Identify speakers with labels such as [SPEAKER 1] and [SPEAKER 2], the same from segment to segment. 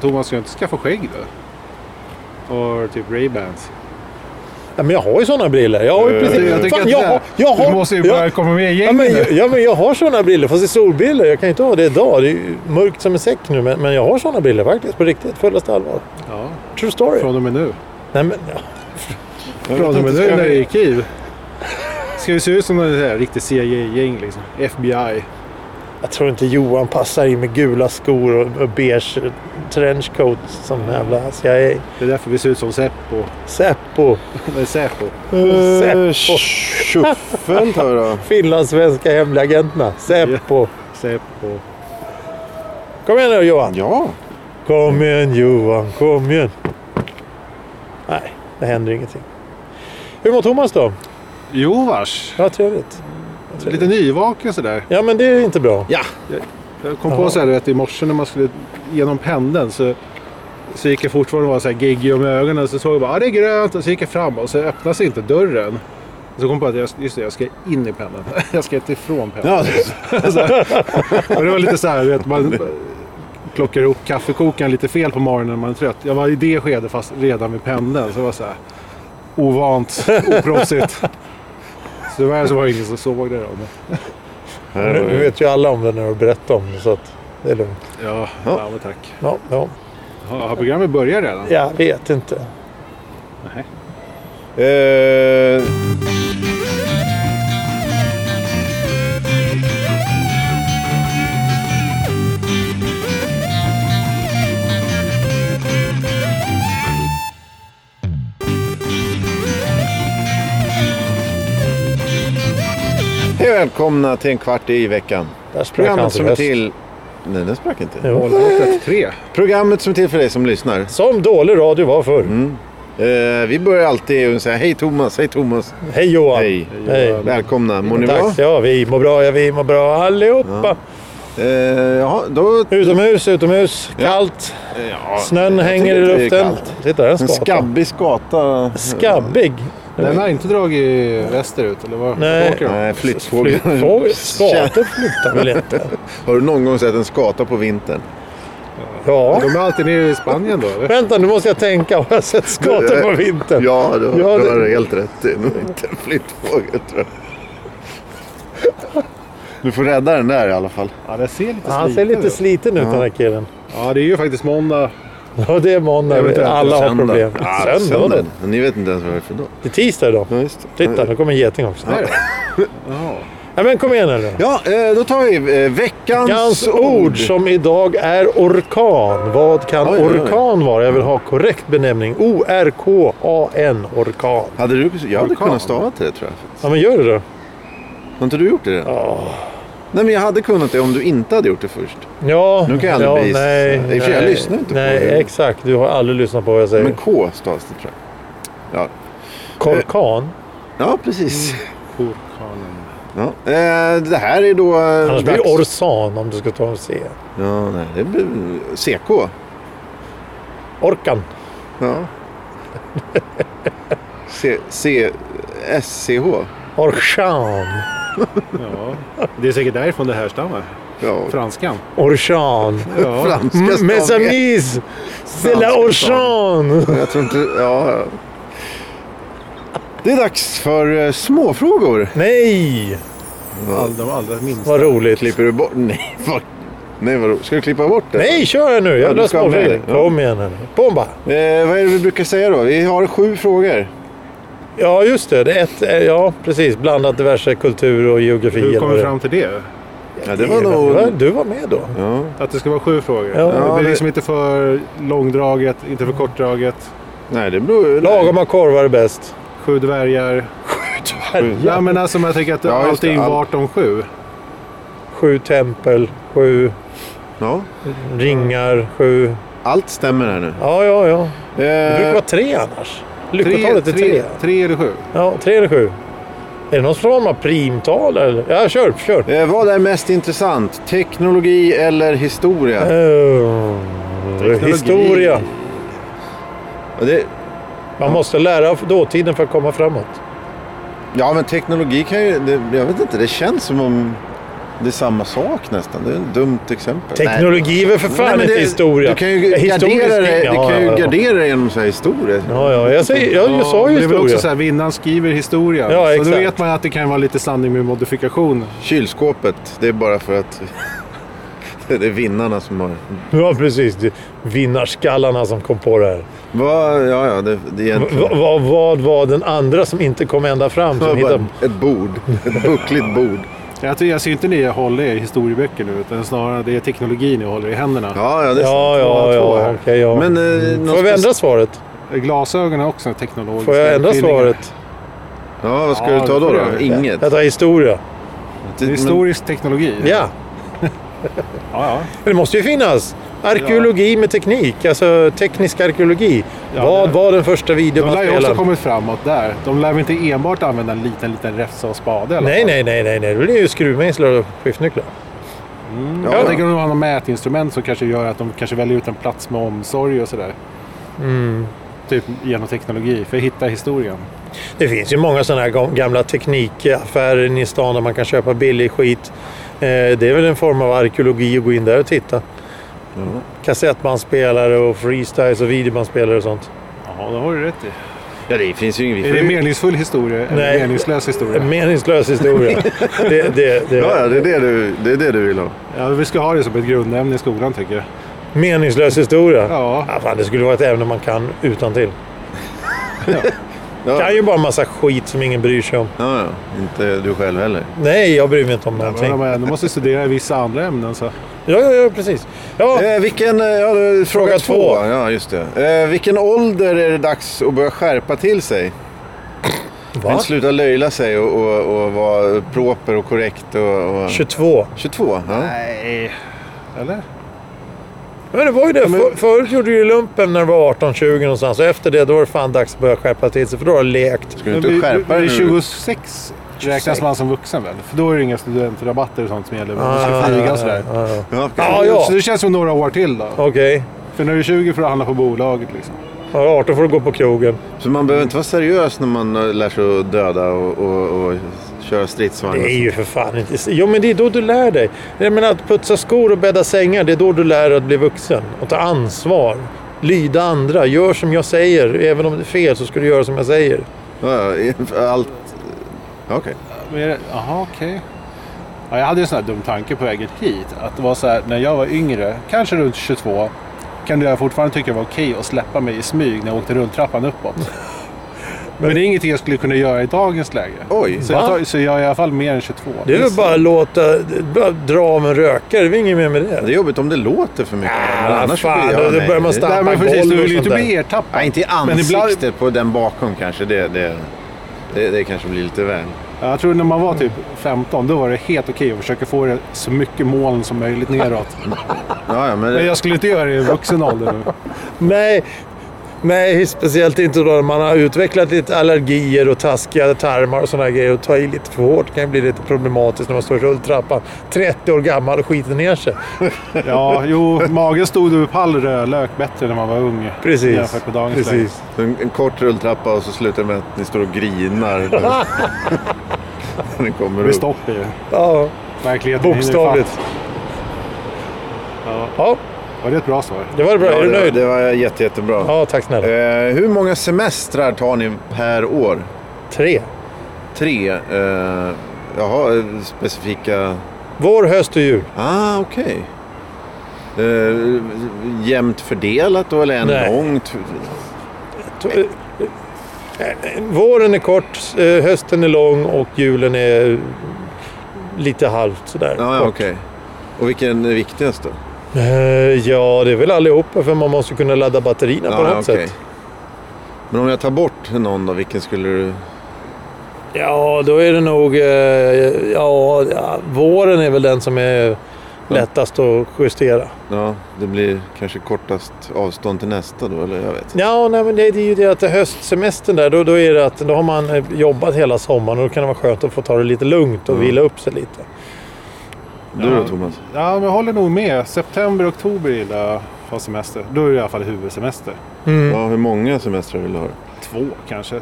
[SPEAKER 1] Thomas, ska jag inte skaffa skägg då? Och typ Ray-Bans.
[SPEAKER 2] Nej, men jag har ju sådana briller. Jag har ju
[SPEAKER 1] Jag
[SPEAKER 2] precis...
[SPEAKER 1] tycker- Eh, jag tycker
[SPEAKER 2] Fan,
[SPEAKER 1] att
[SPEAKER 2] jag
[SPEAKER 1] det här-
[SPEAKER 2] har... Jag har
[SPEAKER 1] Du måste ju
[SPEAKER 2] jag-
[SPEAKER 1] börja komma med i
[SPEAKER 2] Ja men,
[SPEAKER 1] gänget
[SPEAKER 2] jag,
[SPEAKER 1] nu.
[SPEAKER 2] ja men jag har sådana briller, fast det är solbriller. Jag kan ju inte ha det idag. Det är ju mörkt som en säck nu. Men, men jag har sådana briller faktiskt, på riktigt. Fullaste allvar.
[SPEAKER 1] Ja,
[SPEAKER 2] True story.
[SPEAKER 1] från och med nu.
[SPEAKER 2] Nej men, ja.
[SPEAKER 1] Från och med nu när
[SPEAKER 3] Ska
[SPEAKER 1] det
[SPEAKER 3] vi-
[SPEAKER 1] är i Kiev. Ska vi se ut som en sån här riktig CIA-gäng liksom? FBI.
[SPEAKER 2] Jag tror inte Johan passar i med gula skor och, och beige trenchcoat som en jävla CIA.
[SPEAKER 1] Det är därför vi ser ut som Säpo.
[SPEAKER 2] Säpo.
[SPEAKER 1] Nej, Säpo.
[SPEAKER 2] Säpo.
[SPEAKER 3] Eh, Tjoffen tar vi då.
[SPEAKER 2] Finlandssvenska hemliga agenterna. Säpo.
[SPEAKER 1] Säpo.
[SPEAKER 2] Kom igen nu Johan.
[SPEAKER 3] Ja.
[SPEAKER 2] Kom igen Johan, kom igen. Nej, det händer ingenting. Hur mår Thomas då?
[SPEAKER 1] Jo vars.
[SPEAKER 2] Ja, trevligt.
[SPEAKER 1] Lite nyvaken sådär.
[SPEAKER 2] Ja, men det är inte bra.
[SPEAKER 1] Ja. Jag, jag kom
[SPEAKER 2] Jaha.
[SPEAKER 1] på så här du vet, i morse när man skulle genom pendeln så, så gick jag fortfarande och var så här geggig om ögonen. Så såg jag bara ah, det är grönt och så gick jag fram och så öppnas inte dörren. Och så kom jag på att jag, just det, jag ska in i pendeln. Jag ska inte ifrån pendeln.
[SPEAKER 3] ja.
[SPEAKER 1] Och det var lite så här, du vet, man plockar ihop kaffekokaren lite fel på morgonen när man är trött. Jag var i det skedet fast redan vid pendeln. Så det var så här ovant, oproffsigt. Så tyvärr så var det ingen som såg det. Då. Men,
[SPEAKER 3] Här
[SPEAKER 2] Nu
[SPEAKER 3] har
[SPEAKER 2] nu
[SPEAKER 3] vi-
[SPEAKER 2] vet ju alla om det när du berättar om det, så att det är lugnt.
[SPEAKER 1] ja, ja. men tack.
[SPEAKER 2] Ja, ja.
[SPEAKER 1] Har har programmet börjat redan?
[SPEAKER 2] Jag vet inte.
[SPEAKER 1] Nej.
[SPEAKER 3] Eh, Hej och välkomna till en kvart i veckan.
[SPEAKER 2] Där sprack
[SPEAKER 3] Programmet
[SPEAKER 2] hans
[SPEAKER 3] som är
[SPEAKER 2] röst.
[SPEAKER 3] till... Nej, den sprack inte.
[SPEAKER 2] Jo.
[SPEAKER 1] Målbrottet 3.
[SPEAKER 3] Programmet som är till för dig som lyssnar.
[SPEAKER 2] Som dålig radio var förr.
[SPEAKER 3] Mm. Eh, vi börjar alltid med att säga hej Thomas, hej Thomas.
[SPEAKER 2] Hej Johan!
[SPEAKER 3] Hej.
[SPEAKER 2] Hej.
[SPEAKER 3] Välkomna, mår ni bra?
[SPEAKER 2] Tack. Ja, vi mår bra. Ja, vi mår bra allihopa.
[SPEAKER 3] Eh, jaha, då...
[SPEAKER 2] Utomhus, utomhus.
[SPEAKER 3] Ja.
[SPEAKER 2] Kallt.
[SPEAKER 3] Ja,
[SPEAKER 2] Snön
[SPEAKER 3] jag
[SPEAKER 2] hänger i
[SPEAKER 3] tycker det är
[SPEAKER 2] luften.
[SPEAKER 3] kallt.
[SPEAKER 2] Titta, den
[SPEAKER 3] En
[SPEAKER 2] skapar.
[SPEAKER 3] skabbig skata.
[SPEAKER 2] Skabbig.
[SPEAKER 1] Den har inte dragit västerut eller var
[SPEAKER 2] Nej.
[SPEAKER 1] åker de?
[SPEAKER 3] Nej, flyttfågel.
[SPEAKER 2] Flyttfågel. Skator flyttar väl inte?
[SPEAKER 3] Har du någon gång sett en skata på vintern?
[SPEAKER 2] Ja.
[SPEAKER 1] De är alltid nere i Spanien då eller?
[SPEAKER 2] Vänta, nu måste jag tänka. Har jag sett skator på vintern?
[SPEAKER 3] Ja, du,
[SPEAKER 2] Ja,
[SPEAKER 3] du
[SPEAKER 2] det-
[SPEAKER 3] har helt rätt. Det är nog inte en flyttfågel tror jag. Du får rädda den där i alla fall.
[SPEAKER 1] Ja, den ser lite
[SPEAKER 2] Han ser
[SPEAKER 1] sliten
[SPEAKER 2] lite
[SPEAKER 1] ut.
[SPEAKER 2] sliten ut den här killen.
[SPEAKER 1] Ja, det är ju faktiskt måndag.
[SPEAKER 2] Ja, det är måndag.
[SPEAKER 1] Eventuellt
[SPEAKER 2] Alla har problem.
[SPEAKER 3] Ja,
[SPEAKER 2] Söndag var det.
[SPEAKER 3] söndagen. Ah, Ni vet inte ens vad det är för dag.
[SPEAKER 2] Det är tisdag idag.
[SPEAKER 3] Ja, just det.
[SPEAKER 2] Titta, nu kommer en geting också.
[SPEAKER 1] Där är det. Ja.
[SPEAKER 2] Ja, men kom igen nu.
[SPEAKER 3] Ja, eh, då tar vi eh, veckans
[SPEAKER 2] Veckans ord som idag är orkan. Vad kan
[SPEAKER 3] Oj, oj, oj.
[SPEAKER 2] orkan vara? Jag vill ha korrekt benämning. O-R-K-A-N, orkan.
[SPEAKER 3] Hade du, jag hade
[SPEAKER 1] Orkan.
[SPEAKER 3] kunnat stava till det tror jag. faktiskt.
[SPEAKER 2] Ja, men gör det då.
[SPEAKER 3] Har inte du gjort det? Ja. Nej, men jag hade kunnat det om du inte hade gjort det först.
[SPEAKER 2] Ja,
[SPEAKER 3] Nu kan jag aldrig
[SPEAKER 2] ja,
[SPEAKER 3] bli-
[SPEAKER 2] nej,
[SPEAKER 3] I och för sig, jag
[SPEAKER 2] nej,
[SPEAKER 3] lyssnar inte på
[SPEAKER 2] nej,
[SPEAKER 3] det.
[SPEAKER 2] exakt. Du har aldrig lyssnat på vad jag säger.
[SPEAKER 3] Men eh, K stavas det tror jag. Ja,
[SPEAKER 2] Korkan?
[SPEAKER 3] ja precis.
[SPEAKER 1] Orkanen.
[SPEAKER 3] Ja. Eh, det här är då... eh,
[SPEAKER 2] Mm. Annars blir det
[SPEAKER 3] dags-
[SPEAKER 2] orsan om du ska ta en C.
[SPEAKER 3] Ja, nej, det blir CK.
[SPEAKER 2] Orkan.
[SPEAKER 3] Ja. C, C, SCH.
[SPEAKER 2] Orkan.
[SPEAKER 1] Ja. Det är säkert därifrån det härstammar.
[SPEAKER 3] Ja.
[SPEAKER 1] Franskan.
[SPEAKER 2] Orkan.
[SPEAKER 1] Ja.
[SPEAKER 3] Franska
[SPEAKER 2] M- Mes
[SPEAKER 3] stavningar.
[SPEAKER 2] amis, c'est la
[SPEAKER 3] Franska
[SPEAKER 2] orkan.
[SPEAKER 3] Jag tror inte... Ja. ja. Det är dags för eh, småfrågor.
[SPEAKER 2] Nej,
[SPEAKER 1] All, de allra minsta.
[SPEAKER 2] vad roligt.
[SPEAKER 3] Klipper du bort? Nej, vad... Nej, vadå? Ska du klippa bort det?
[SPEAKER 2] Nej, kör här nu.
[SPEAKER 3] Ja,
[SPEAKER 2] Jävla
[SPEAKER 3] du ska ha med
[SPEAKER 2] småfel.
[SPEAKER 3] dig. Ja.
[SPEAKER 2] Kom igen här nu. Bomba.
[SPEAKER 3] Eh, vad är det vi brukar säga då? Vi har sju frågor.
[SPEAKER 2] Ja, just det. det är ett, eh, ja, precis. Blandat diverse kultur och geografi.
[SPEAKER 1] Hur
[SPEAKER 2] eller
[SPEAKER 1] kom
[SPEAKER 2] vad
[SPEAKER 1] vi
[SPEAKER 2] det-
[SPEAKER 1] fram till det?
[SPEAKER 3] Ja, det var nog...
[SPEAKER 2] Ja, Du var med då.
[SPEAKER 3] Ja.
[SPEAKER 1] Att det ska vara sju frågor?
[SPEAKER 2] Ja.
[SPEAKER 1] det
[SPEAKER 3] Ja,
[SPEAKER 1] blir
[SPEAKER 3] det-
[SPEAKER 1] liksom inte för långdraget, inte för kortdraget.
[SPEAKER 3] Nej, det beror...
[SPEAKER 2] Lagom av korvar är bäst.
[SPEAKER 1] Sju dvärgar.
[SPEAKER 3] Sju.
[SPEAKER 1] Ja, men alltså man tänker att
[SPEAKER 3] Ja, just
[SPEAKER 1] allting
[SPEAKER 3] det. All-
[SPEAKER 1] vart om sju.
[SPEAKER 2] Sju tempel, sju
[SPEAKER 3] Ja.
[SPEAKER 2] ringar, sju...
[SPEAKER 3] Allt stämmer här nu.
[SPEAKER 2] Ja, ja, ja. Det brukar
[SPEAKER 3] Eh,
[SPEAKER 2] vara tre annars.
[SPEAKER 1] Tre,
[SPEAKER 2] Lyckotalet är
[SPEAKER 1] tre,
[SPEAKER 2] tre.
[SPEAKER 1] tre eller sju?
[SPEAKER 2] Ja, tre eller sju. Är det någon form av primtal eller? Ja, kör, kör.
[SPEAKER 3] eh, vad är mest intressant? Teknologi eller historia?
[SPEAKER 2] Eh,
[SPEAKER 1] Teknologi.
[SPEAKER 2] historia.
[SPEAKER 3] Och Det,
[SPEAKER 2] Man måste lära av dåtiden för att komma framåt.
[SPEAKER 3] ja, men teknologi kan ju... Det, jag vet inte, det känns som om Det är samma sak nästan. Det är ett dumt exempel.
[SPEAKER 2] Teknologi är väl för
[SPEAKER 3] Nej,
[SPEAKER 2] fan
[SPEAKER 3] men
[SPEAKER 2] inte
[SPEAKER 3] det-
[SPEAKER 2] historia.
[SPEAKER 3] Du kan ju gardera dig, du
[SPEAKER 2] ja,
[SPEAKER 3] kan ju
[SPEAKER 2] ja, ja.
[SPEAKER 3] gardera dig genom så här historia.
[SPEAKER 2] Ja, ja. Jag, säger, jag, jag sa ju
[SPEAKER 1] det är väl också
[SPEAKER 2] historia.
[SPEAKER 1] så här, vinnaren skriver historia.
[SPEAKER 2] Ja,
[SPEAKER 1] så då
[SPEAKER 2] exakt.
[SPEAKER 1] vet man att det kan vara lite sanning med modifikation.
[SPEAKER 3] Kylskåpet, det är bara för att det är vinnarna som har...
[SPEAKER 2] Ja, precis. Det- Vinnarskallarna som kom på det här.
[SPEAKER 3] Va, ja, ja, det, det är
[SPEAKER 2] V-
[SPEAKER 3] egentligen...
[SPEAKER 2] vad- vad var den andra som inte kom ända fram?
[SPEAKER 3] det
[SPEAKER 2] Som
[SPEAKER 3] var bara
[SPEAKER 2] hittade...
[SPEAKER 3] ett bord. Ett buckligt bord.
[SPEAKER 1] Jag, tycker, jag ser inte ni håller er i historieböcker nu, utan snarare det är teknologin ni håller i händerna.
[SPEAKER 3] Ja, ja, det är sant.
[SPEAKER 2] Ja, ja,
[SPEAKER 1] två
[SPEAKER 2] ja.
[SPEAKER 1] här.
[SPEAKER 2] Okej, ja.
[SPEAKER 3] Men, eh, någon
[SPEAKER 2] Får jag
[SPEAKER 3] spec-
[SPEAKER 2] ändra svaret?
[SPEAKER 1] Glasögonen är också en teknologisk
[SPEAKER 2] Får jag ändra
[SPEAKER 1] uppfinning.
[SPEAKER 2] svaret?
[SPEAKER 3] Ja, vad ska
[SPEAKER 1] Ja,
[SPEAKER 3] du ta
[SPEAKER 1] det
[SPEAKER 3] då?
[SPEAKER 1] får du
[SPEAKER 3] då?
[SPEAKER 1] göra.
[SPEAKER 3] Inget.
[SPEAKER 2] Jag tar historia.
[SPEAKER 1] Det är Historisk teknologi.
[SPEAKER 2] Ja.
[SPEAKER 1] Ja, ja.
[SPEAKER 2] Men Det måste ju finnas. Arkeologi med teknik, alltså teknisk arkeologi.
[SPEAKER 1] Ja,
[SPEAKER 2] Vad
[SPEAKER 1] det-
[SPEAKER 2] var den
[SPEAKER 1] De
[SPEAKER 2] första
[SPEAKER 1] lär ju också
[SPEAKER 2] videobandspelaren?
[SPEAKER 1] kommit framåt där. De lär väl inte enbart använda en liten, liten räfsa och spade? eller?
[SPEAKER 2] Nej, nej, nej, nej, nej. Det blir ju skruvmejslar och skiftnycklar.
[SPEAKER 3] men,
[SPEAKER 1] Mm. Jag
[SPEAKER 3] ja,
[SPEAKER 1] tänker om de har något mätinstrument som kanske gör att de kanske väljer ut en plats med omsorg och sådär.
[SPEAKER 2] Mm.
[SPEAKER 1] Typ genom teknologi, för att hitta historien.
[SPEAKER 2] Det finns ju många sådana här gam- gamla teknikaffärer inne i stan där man kan köpa billig skit. Eh, Det är väl en form av arkeologi att gå in där och titta.
[SPEAKER 3] Ja.
[SPEAKER 2] Kassettbandspelare och freestyles och videobandspelare och sånt.
[SPEAKER 1] Ja, det har du rätt i.
[SPEAKER 3] ja, det finns ju inget.
[SPEAKER 1] Är det en meningsfull historia
[SPEAKER 2] Nej.
[SPEAKER 1] eller en meningslös
[SPEAKER 2] En
[SPEAKER 1] historia?
[SPEAKER 2] meningslös historia. det, det, det.
[SPEAKER 3] Ja, ja, det är det du, det är det du vill ha.
[SPEAKER 1] Ja, vi ska ha det som ett grundämne i skolan tycker jag.
[SPEAKER 2] Meningslös historia.
[SPEAKER 1] Ja,
[SPEAKER 2] Ah, fan, det skulle vara ett ämne man kan utan till.
[SPEAKER 3] Ja,
[SPEAKER 2] kan ju bara massa skit som ingen bryr sig om.
[SPEAKER 3] ja, ja. Inte du själv heller.
[SPEAKER 2] Nej, jag bryr mig inte om någonting.
[SPEAKER 1] men de ändå måste studera i vissa andra ämnen. Så.
[SPEAKER 2] Ja, ja, ja precis. Ja,
[SPEAKER 3] Eh, vilken, eh, ja, det är fråga,
[SPEAKER 2] Fråga
[SPEAKER 3] två.
[SPEAKER 2] två.
[SPEAKER 3] Ja, just det. Eh, vilken ålder är det dags att börja skärpa till sig?
[SPEAKER 2] va?
[SPEAKER 3] Men sluta löjla sig och, och, och vara proper och korrekt. Och, och...
[SPEAKER 2] 22.
[SPEAKER 3] 22? Ja.
[SPEAKER 1] Nej. Eller?
[SPEAKER 2] Men det var ju det. För, förut gjorde du ju lumpen när du var 18-20 någonstans. Och efter det, då var det fan dags att börja skärpa till sig. För då har du lekt.
[SPEAKER 3] Ska du
[SPEAKER 1] Men
[SPEAKER 3] inte
[SPEAKER 1] vid-
[SPEAKER 3] skärpa dig
[SPEAKER 1] vid
[SPEAKER 3] nu?
[SPEAKER 1] 26 räknas man som vuxen väl? För då är det inga studentrabatter och sånt som gäller. Man
[SPEAKER 2] Ah,
[SPEAKER 1] ska flyga och sådär.
[SPEAKER 2] ah, ah.
[SPEAKER 3] Ja,
[SPEAKER 2] Ja, ja.
[SPEAKER 1] Så det känns som några år till då.
[SPEAKER 2] Okej.
[SPEAKER 1] För när du är 20 får du handla på bolaget liksom.
[SPEAKER 2] Ja, 18 får du gå på krogen.
[SPEAKER 3] Så man behöver inte vara seriös när man eh, lär sig att döda och, och, och köra stridsvagn?
[SPEAKER 2] Det är ju för fan inte... Jo, men det är då du lär dig. Jag menar, att putsa skor och bädda sängar, det är då du lär dig att bli vuxen. Och ta ansvar. Lyda andra. Gör som jag säger. Även om det är fel så ska du göra som jag säger.
[SPEAKER 3] Ja, ja, allt... Ja, Okej.
[SPEAKER 1] Men är det- Jaha, okej. Ja, jag hade en sån här dum tanke på vägen hit. Att det var så här, när jag var yngre, kanske runt 22, kan jag fortfarande tycka det var okej att släppa mig i smyg när jag åkte rulltrappan uppåt. Men, det är ingenting jag skulle kunna göra i dagens läge.
[SPEAKER 3] Oj.
[SPEAKER 1] Så
[SPEAKER 2] Va?
[SPEAKER 1] jag, tar, så jag är i alla fall mer än 22.
[SPEAKER 2] Det är väl bara att låta... Bara dra av en rökare. Det är väl inget mer med det.
[SPEAKER 3] Det är jobbigt om det låter för mycket.
[SPEAKER 2] Ah,
[SPEAKER 3] men
[SPEAKER 2] vad
[SPEAKER 3] annars
[SPEAKER 2] fan,
[SPEAKER 3] blir jag-
[SPEAKER 2] då- då
[SPEAKER 3] nej,
[SPEAKER 2] börjar man
[SPEAKER 3] det-
[SPEAKER 2] stanna.
[SPEAKER 1] Nej, men
[SPEAKER 2] Tappa
[SPEAKER 1] precis,
[SPEAKER 2] golv
[SPEAKER 1] du
[SPEAKER 2] och
[SPEAKER 1] vill ju inte
[SPEAKER 2] sånt där.
[SPEAKER 1] bli ertappad.
[SPEAKER 3] Nej, inte i
[SPEAKER 1] Men
[SPEAKER 3] ansiktet
[SPEAKER 1] ibland-
[SPEAKER 3] på den bakom kanske. Det, det, det, det kanske blir lite väl.
[SPEAKER 1] Ja, Jag tror när man var typ 15, då var det helt okej att försöka få det så mycket moln som möjligt neråt.
[SPEAKER 3] Ja, ja, men,
[SPEAKER 1] Men jag skulle inte göra det i vuxen ålder nu.
[SPEAKER 2] Nej. Nej, speciellt inte då när man har utvecklat lite allergier och taskiga tarmar och sådana grejer. Och ta i lite för hårt kan ju bli lite problematiskt när man står i rulltrappan. 30 år gammal och skiter ner sig.
[SPEAKER 1] Ja, jo, magen stod över pall rödlök bättre när man var ung.
[SPEAKER 2] Precis.
[SPEAKER 1] Jämfört med dagens läge.
[SPEAKER 2] Precis.
[SPEAKER 3] en, en kort rulltrappa och så slutar det med att ni står och grinar. När ni kommer
[SPEAKER 1] Det
[SPEAKER 3] upp.
[SPEAKER 1] stoppar ju.
[SPEAKER 2] Ja,
[SPEAKER 1] Verkligheten hinner
[SPEAKER 2] bokstavligt.
[SPEAKER 1] Ja.
[SPEAKER 2] Ja,
[SPEAKER 1] ifatt. Var det ett bra svar?
[SPEAKER 2] det var bra.
[SPEAKER 3] Ja,
[SPEAKER 2] är du
[SPEAKER 3] det, var-
[SPEAKER 2] nöjd?
[SPEAKER 3] det var jätte, jättebra.
[SPEAKER 2] Ja, tack snälla.
[SPEAKER 3] Eh, hur många semestrar tar ni per år?
[SPEAKER 2] Tre.
[SPEAKER 3] Tre. Eh, jaha, eh, specifika...
[SPEAKER 2] Vår, höst och jul.
[SPEAKER 3] Ah, okej. Eh, jämnt fördelat då eller en
[SPEAKER 2] Nej.
[SPEAKER 3] lång? t-
[SPEAKER 2] To- eh, eh, Våren är kort, eh, hösten är lång och julen är eh, lite halvt sådär.
[SPEAKER 3] Ja, ja
[SPEAKER 2] kort.
[SPEAKER 3] okej. Och vilken är viktigast då?
[SPEAKER 2] Eh, Ja, det är väl allihopa för man måste kunna ladda batterierna på något
[SPEAKER 3] okej.
[SPEAKER 2] sätt.
[SPEAKER 3] Men om jag tar bort någon då, vilken skulle du...
[SPEAKER 2] Ja, då är det nog... eh, Ja, ja, våren är väl den som är lättast att justera.
[SPEAKER 3] Ja, det blir kanske kortast avstånd till nästa då, eller jag vet
[SPEAKER 2] Ja, nej, men det är ju det att höstsemestern där, då, då är det att då har man eh, jobbat hela sommaren och då kan det vara skönt att få ta det lite lugnt och
[SPEAKER 3] Mm.
[SPEAKER 2] vila upp sig lite.
[SPEAKER 3] Du
[SPEAKER 1] Ja.
[SPEAKER 3] då Thomas?
[SPEAKER 1] Ja, men jag håller nog med. September, oktober gillar jag att ha semester. Då är det i alla fall huvudsemester.
[SPEAKER 2] Mm.
[SPEAKER 3] Ja, hur många semestrar vill du ha?
[SPEAKER 1] Två kanske.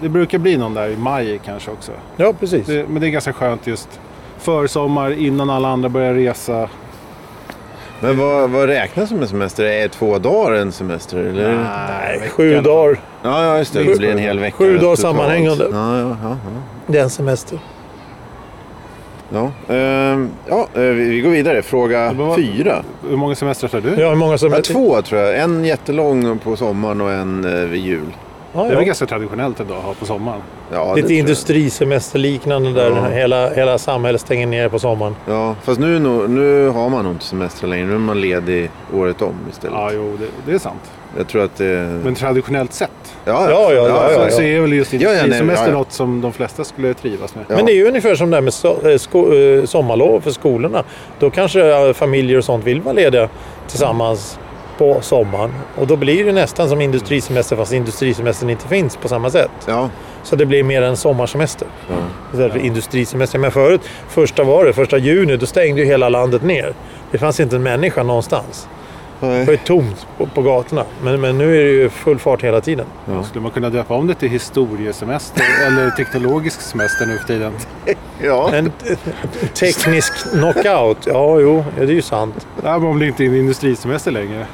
[SPEAKER 1] Det brukar bli någon där i maj kanske också.
[SPEAKER 2] Ja, precis.
[SPEAKER 1] Det, men det är ganska skönt just försommar innan alla andra börjar resa.
[SPEAKER 3] Men vad, vad räknas som en semester? Är två dagar en semester? Eller?
[SPEAKER 2] Nej,
[SPEAKER 1] i
[SPEAKER 2] sju
[SPEAKER 1] alla
[SPEAKER 2] dagar.
[SPEAKER 3] Ja, ja, just det. Det blir en hel vecka.
[SPEAKER 2] Sju dagar
[SPEAKER 3] totalt.
[SPEAKER 2] sammanhängande.
[SPEAKER 3] Ja, ja, ja. ja.
[SPEAKER 2] Det är en semester.
[SPEAKER 3] ja. Ehm, ja eh, vi vi går vidare. Fråga
[SPEAKER 1] Det var-
[SPEAKER 3] fyra.
[SPEAKER 1] Hur många semestrar tar du?
[SPEAKER 2] Ja, hur många som...
[SPEAKER 3] Ja, två tror jag. En jättelång på sommaren och en eh, vid jul.
[SPEAKER 2] Ja,
[SPEAKER 1] Det är
[SPEAKER 2] ja.
[SPEAKER 1] väl ganska traditionellt ändå att ha på sommaren.
[SPEAKER 3] Ja, det
[SPEAKER 2] Lite
[SPEAKER 3] tror jag.
[SPEAKER 2] industrisemesterliknande där
[SPEAKER 3] Ja.
[SPEAKER 2] hela, hela samhället stänger ner på sommaren.
[SPEAKER 3] Ja, fast nu, är nog- nu har man nog inte semester längre. Nu är man ledig året om istället.
[SPEAKER 1] Ja, jo, det, det är sant.
[SPEAKER 3] Jag tror att det...
[SPEAKER 1] Men traditionellt sett
[SPEAKER 2] Ja, ja,
[SPEAKER 1] så,
[SPEAKER 2] ja, ja.
[SPEAKER 1] så är väl just
[SPEAKER 3] Ja, ja, nej,
[SPEAKER 1] industrisemester
[SPEAKER 3] ja, ja.
[SPEAKER 1] något som de flesta skulle trivas med.
[SPEAKER 3] Ja.
[SPEAKER 2] Men det är ju ungefär som det här med so- eh, sko- eh, sommarlov för skolorna. Då kanske eh, familjer och sånt vill vara lediga tillsammans på sommaren. Och då blir det nästan som industrisemester fast industrisemestern inte finns på samma sätt.
[SPEAKER 3] Ja,
[SPEAKER 2] Så det blir mer en sommarsemester.
[SPEAKER 3] ja.
[SPEAKER 2] Istället för industrisemester. Men förut, första var det, första juni, då stängde ju hela landet ner. Det fanns inte en människa någonstans. Det var ju tomt på, på gatorna. Men, men nu är det ju full fart hela tiden.
[SPEAKER 3] Ja.
[SPEAKER 1] Skulle man kunna döpa om det till historiesemester eller teknologisk semester nu för tiden?
[SPEAKER 3] ja.
[SPEAKER 2] En t- teknisk knockout. Ja, jo, ja, det är ju sant.
[SPEAKER 1] Nej, men om det inte är en industrisemester längre.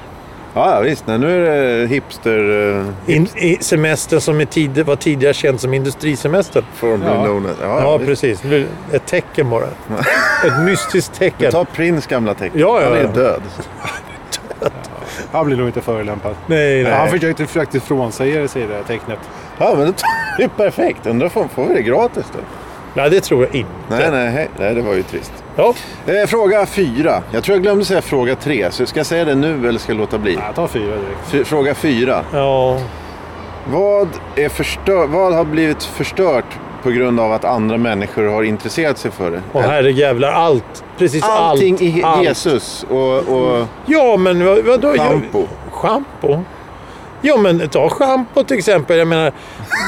[SPEAKER 3] Ja, ja, visst. Nej, nu är det hipster... eh,
[SPEAKER 2] In, i semestern som är tid, var tidigare känd som industrisemestern.
[SPEAKER 3] Formerly
[SPEAKER 1] Ja.
[SPEAKER 3] known as. Ja,
[SPEAKER 2] Ja,
[SPEAKER 3] visst.
[SPEAKER 2] precis. Nu- Ett tecken bara. Ett mystiskt tecken.
[SPEAKER 3] Ta Prins gamla tecken.
[SPEAKER 2] Ja, ja,
[SPEAKER 3] Han
[SPEAKER 2] ja.
[SPEAKER 3] är död.
[SPEAKER 1] Han blir nog inte förolämpad.
[SPEAKER 2] Nej,
[SPEAKER 1] Ja, Han
[SPEAKER 2] nej.
[SPEAKER 1] försökte faktiskt frånsäga sig det här tecknet.
[SPEAKER 3] Ja, men det är perfekt. Undrar får, får vi det gratis då?
[SPEAKER 2] Nej, det tror jag inte.
[SPEAKER 3] Nej, nej, hej. nej, det var ju trist.
[SPEAKER 2] Ja,
[SPEAKER 3] Eh, fråga fyra. Jag tror jag glömde säga fråga tre. Så ska jag säga det nu eller ska jag låta bli?
[SPEAKER 1] Nej, ta fyra direkt.
[SPEAKER 3] Fy- Fråga fyra.
[SPEAKER 2] ja.
[SPEAKER 3] Vad, är förstör, vad har blivit förstört på grund av att andra människor har intresserat sig för det?
[SPEAKER 2] Och herrejävlar, allt. Precis
[SPEAKER 3] Allting
[SPEAKER 2] allt.
[SPEAKER 3] i
[SPEAKER 2] allt.
[SPEAKER 3] Jesus och, och
[SPEAKER 2] Ja, men vad, vadå?
[SPEAKER 3] Shampoo.
[SPEAKER 2] Schampo? Ja, men ta schampo till exempel. Jag menar,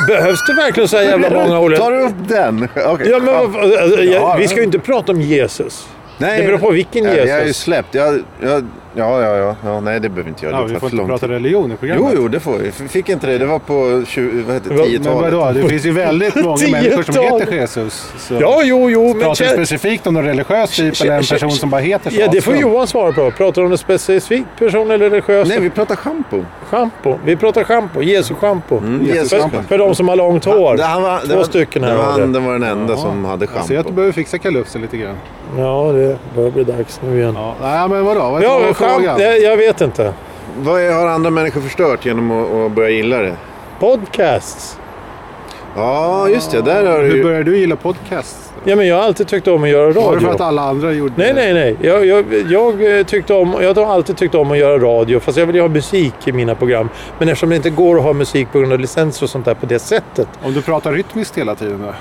[SPEAKER 2] behövs det verkligen så här jävla många olika...
[SPEAKER 3] Tar du upp den? Okej.
[SPEAKER 2] Ja, men, vad- alltså,
[SPEAKER 3] Ja,
[SPEAKER 2] jag, vi
[SPEAKER 3] men-
[SPEAKER 2] ska ju inte prata om Jesus.
[SPEAKER 3] Nej,
[SPEAKER 2] det beror på vilken
[SPEAKER 3] jag, jag har ju
[SPEAKER 2] Jesus.
[SPEAKER 3] släppt. Jag, jag, ja, ja, ja, ja. Nej, det behöver vi inte göra.
[SPEAKER 1] Ja,
[SPEAKER 3] det
[SPEAKER 1] vi
[SPEAKER 3] tar
[SPEAKER 1] får inte
[SPEAKER 3] för lång
[SPEAKER 1] prata
[SPEAKER 3] tid.
[SPEAKER 1] religion i programmet.
[SPEAKER 3] Jo, jo, det får vi. F- Fick inte det. Det var på 20, vad heter det,
[SPEAKER 2] Men
[SPEAKER 3] 10-talet.
[SPEAKER 1] Men vadå, det finns ju väldigt många människor som
[SPEAKER 2] Tiotal.
[SPEAKER 1] heter Jesus. Så
[SPEAKER 2] Ja, jo, jo. Men
[SPEAKER 1] pratar du
[SPEAKER 2] kä-
[SPEAKER 1] specifikt om någon religiös typ
[SPEAKER 2] Kä-
[SPEAKER 1] eller en
[SPEAKER 2] kä-
[SPEAKER 1] person som bara heter så?
[SPEAKER 2] ja, det får Johan svara på. Pratar du om en specifik person eller religiös
[SPEAKER 3] Nej, vi pratar schampo.
[SPEAKER 2] schampo? Vi pratar schampo. Jesu schampo.
[SPEAKER 3] Jesus schampo.
[SPEAKER 2] för, för de som har långt hår. Två
[SPEAKER 3] det var,
[SPEAKER 2] stycken här.
[SPEAKER 3] Det var,
[SPEAKER 2] har
[SPEAKER 3] han,
[SPEAKER 2] det.
[SPEAKER 3] den var den enda som hade
[SPEAKER 1] Jag ser att du
[SPEAKER 3] schampo.
[SPEAKER 1] behöver fixa kalufsen lite grann.
[SPEAKER 2] Ja, det börjar bli dags nu igen.
[SPEAKER 1] Ja, nej, men vadå? Vad
[SPEAKER 2] Ja,
[SPEAKER 1] vad var
[SPEAKER 2] men schamp,
[SPEAKER 1] frågan?
[SPEAKER 2] jag, jag vet inte.
[SPEAKER 3] Vad är- har andra människor förstört genom att, att börja gilla det?
[SPEAKER 2] Podcasts.
[SPEAKER 3] Ja, just det. Där har du
[SPEAKER 1] Hur
[SPEAKER 3] ju...
[SPEAKER 1] började du gilla podcast?
[SPEAKER 2] Ja, men jag har alltid tyckt om att göra
[SPEAKER 1] Var det
[SPEAKER 2] radio.
[SPEAKER 1] för att alla andra gjorde
[SPEAKER 2] Nej, nej, nej. Jag, jag, jag, eh, tyckte om, jag har alltid tyckt om att göra radio, fast jag vill ju ha musik i mina program. Men eftersom det inte går att ha musik på grund av licenser och sånt där på det sättet. Eh,
[SPEAKER 1] Om du pratar rytmiskt hela tiden då?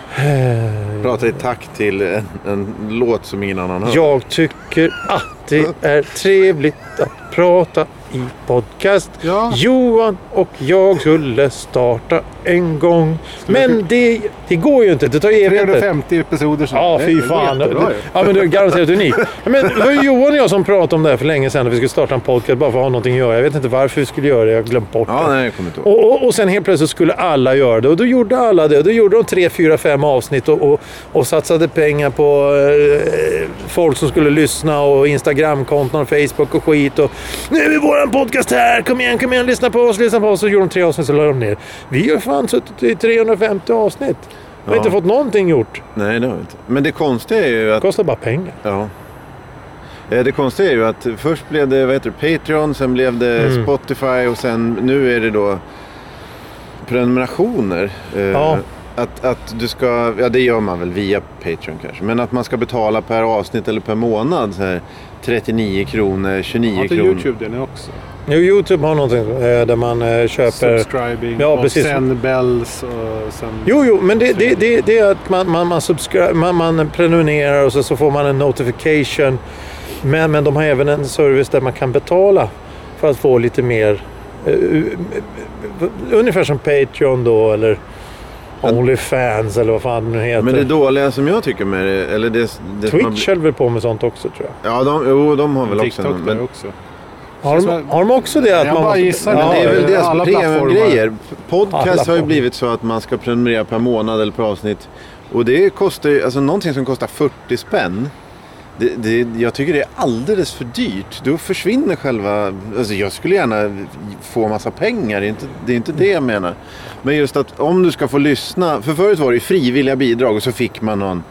[SPEAKER 3] Prata i takt till en, en låt som ingen annan hör.
[SPEAKER 2] Jag tycker att det är trevligt att prata i podcast.
[SPEAKER 1] Ja.
[SPEAKER 2] Johan och jag skulle starta en gång. Men det, det går ju inte. Det tar evigheter.
[SPEAKER 1] 350 episoder sen.
[SPEAKER 2] Ja, fy
[SPEAKER 1] Det går
[SPEAKER 2] fan.
[SPEAKER 1] jättebra ju.
[SPEAKER 2] Ja, men det är garanterat unikt. Men det var ju Johan och jag som pratade om det här för länge sedan. Att vi skulle starta en podcast bara för att ha någonting att göra. Jag vet inte varför vi skulle göra det. Jag har glömt bort
[SPEAKER 3] Ja,
[SPEAKER 2] det.
[SPEAKER 3] nej, jag kommer inte ihåg.
[SPEAKER 2] Och, och, och sen helt plötsligt skulle alla göra det. Och då gjorde alla det. Och då gjorde de tre, fyra, fem avsnitt och, och, och satsade pengar på eh, folk som skulle lyssna och Instagramkonton och Facebook och skit. Och, nu är våran podcast här! Kom igen, kom igen, lyssna på oss, lyssna på oss. Så gjorde de tre avsnitt så la de ner. Vi har fan suttit i 350 avsnitt. Vi har
[SPEAKER 3] Ja.
[SPEAKER 2] inte fått någonting gjort.
[SPEAKER 3] Nej, det har jag inte. Men det konstiga är ju att...
[SPEAKER 2] Det kostar bara pengar.
[SPEAKER 3] Ja. Eh, Det konstiga är ju att först blev det vad heter det, Patreon, sen blev det Spotify och sen nu är det då prenumerationer. Eh,
[SPEAKER 2] Ja.
[SPEAKER 3] Att, att du ska, ja det gör man väl via Patreon kanske, men att man ska betala per avsnitt eller per månad så här, 39 kronor, 29
[SPEAKER 1] Har inte
[SPEAKER 3] kronor.
[SPEAKER 1] YouTube det nu också?
[SPEAKER 2] Jo, Youtube har någonting eh, där man eh, köper...
[SPEAKER 1] Subscribing
[SPEAKER 2] Ja,
[SPEAKER 1] och
[SPEAKER 2] precis.
[SPEAKER 1] sen bells och sen...
[SPEAKER 2] Jo, jo, men det, det, det, det är att man, man, man, subscri- man, man prenumererar och så, så får man en notification. Men, men de har även en service där man kan betala för att få lite mer. eh, eh, Ungefär som Patreon då eller Onlyfans eller vad fan det nu heter.
[SPEAKER 3] Men det dåliga som jag tycker med det, eller det... det som har
[SPEAKER 2] Twitch höll väl på med sånt också tror jag.
[SPEAKER 3] bli- Ja, de, jo, de har väl också
[SPEAKER 1] TikTok
[SPEAKER 3] någon,
[SPEAKER 1] där
[SPEAKER 3] men,
[SPEAKER 1] också.
[SPEAKER 2] Har de, har de också det? Att
[SPEAKER 1] Jag bara
[SPEAKER 2] man måste-
[SPEAKER 1] gissar,
[SPEAKER 3] men
[SPEAKER 1] Ja,
[SPEAKER 3] det är väl
[SPEAKER 1] eh,
[SPEAKER 3] deras
[SPEAKER 1] alla plattformar.
[SPEAKER 3] premiumgrejer.
[SPEAKER 2] Alla
[SPEAKER 3] Podcast har ju
[SPEAKER 2] plattformar.
[SPEAKER 3] blivit så att man ska prenumerera per månad eller per avsnitt. Och det kostar ju, alltså någonting som kostar 40 spänn. Det, det, jag tycker det är alldeles för dyrt. Då försvinner själva... Alltså jag skulle gärna få massa pengar, det är, inte, det är inte det jag menar. Men just att om du ska få lyssna... För förut var det ju frivilliga bidrag och så fick man någon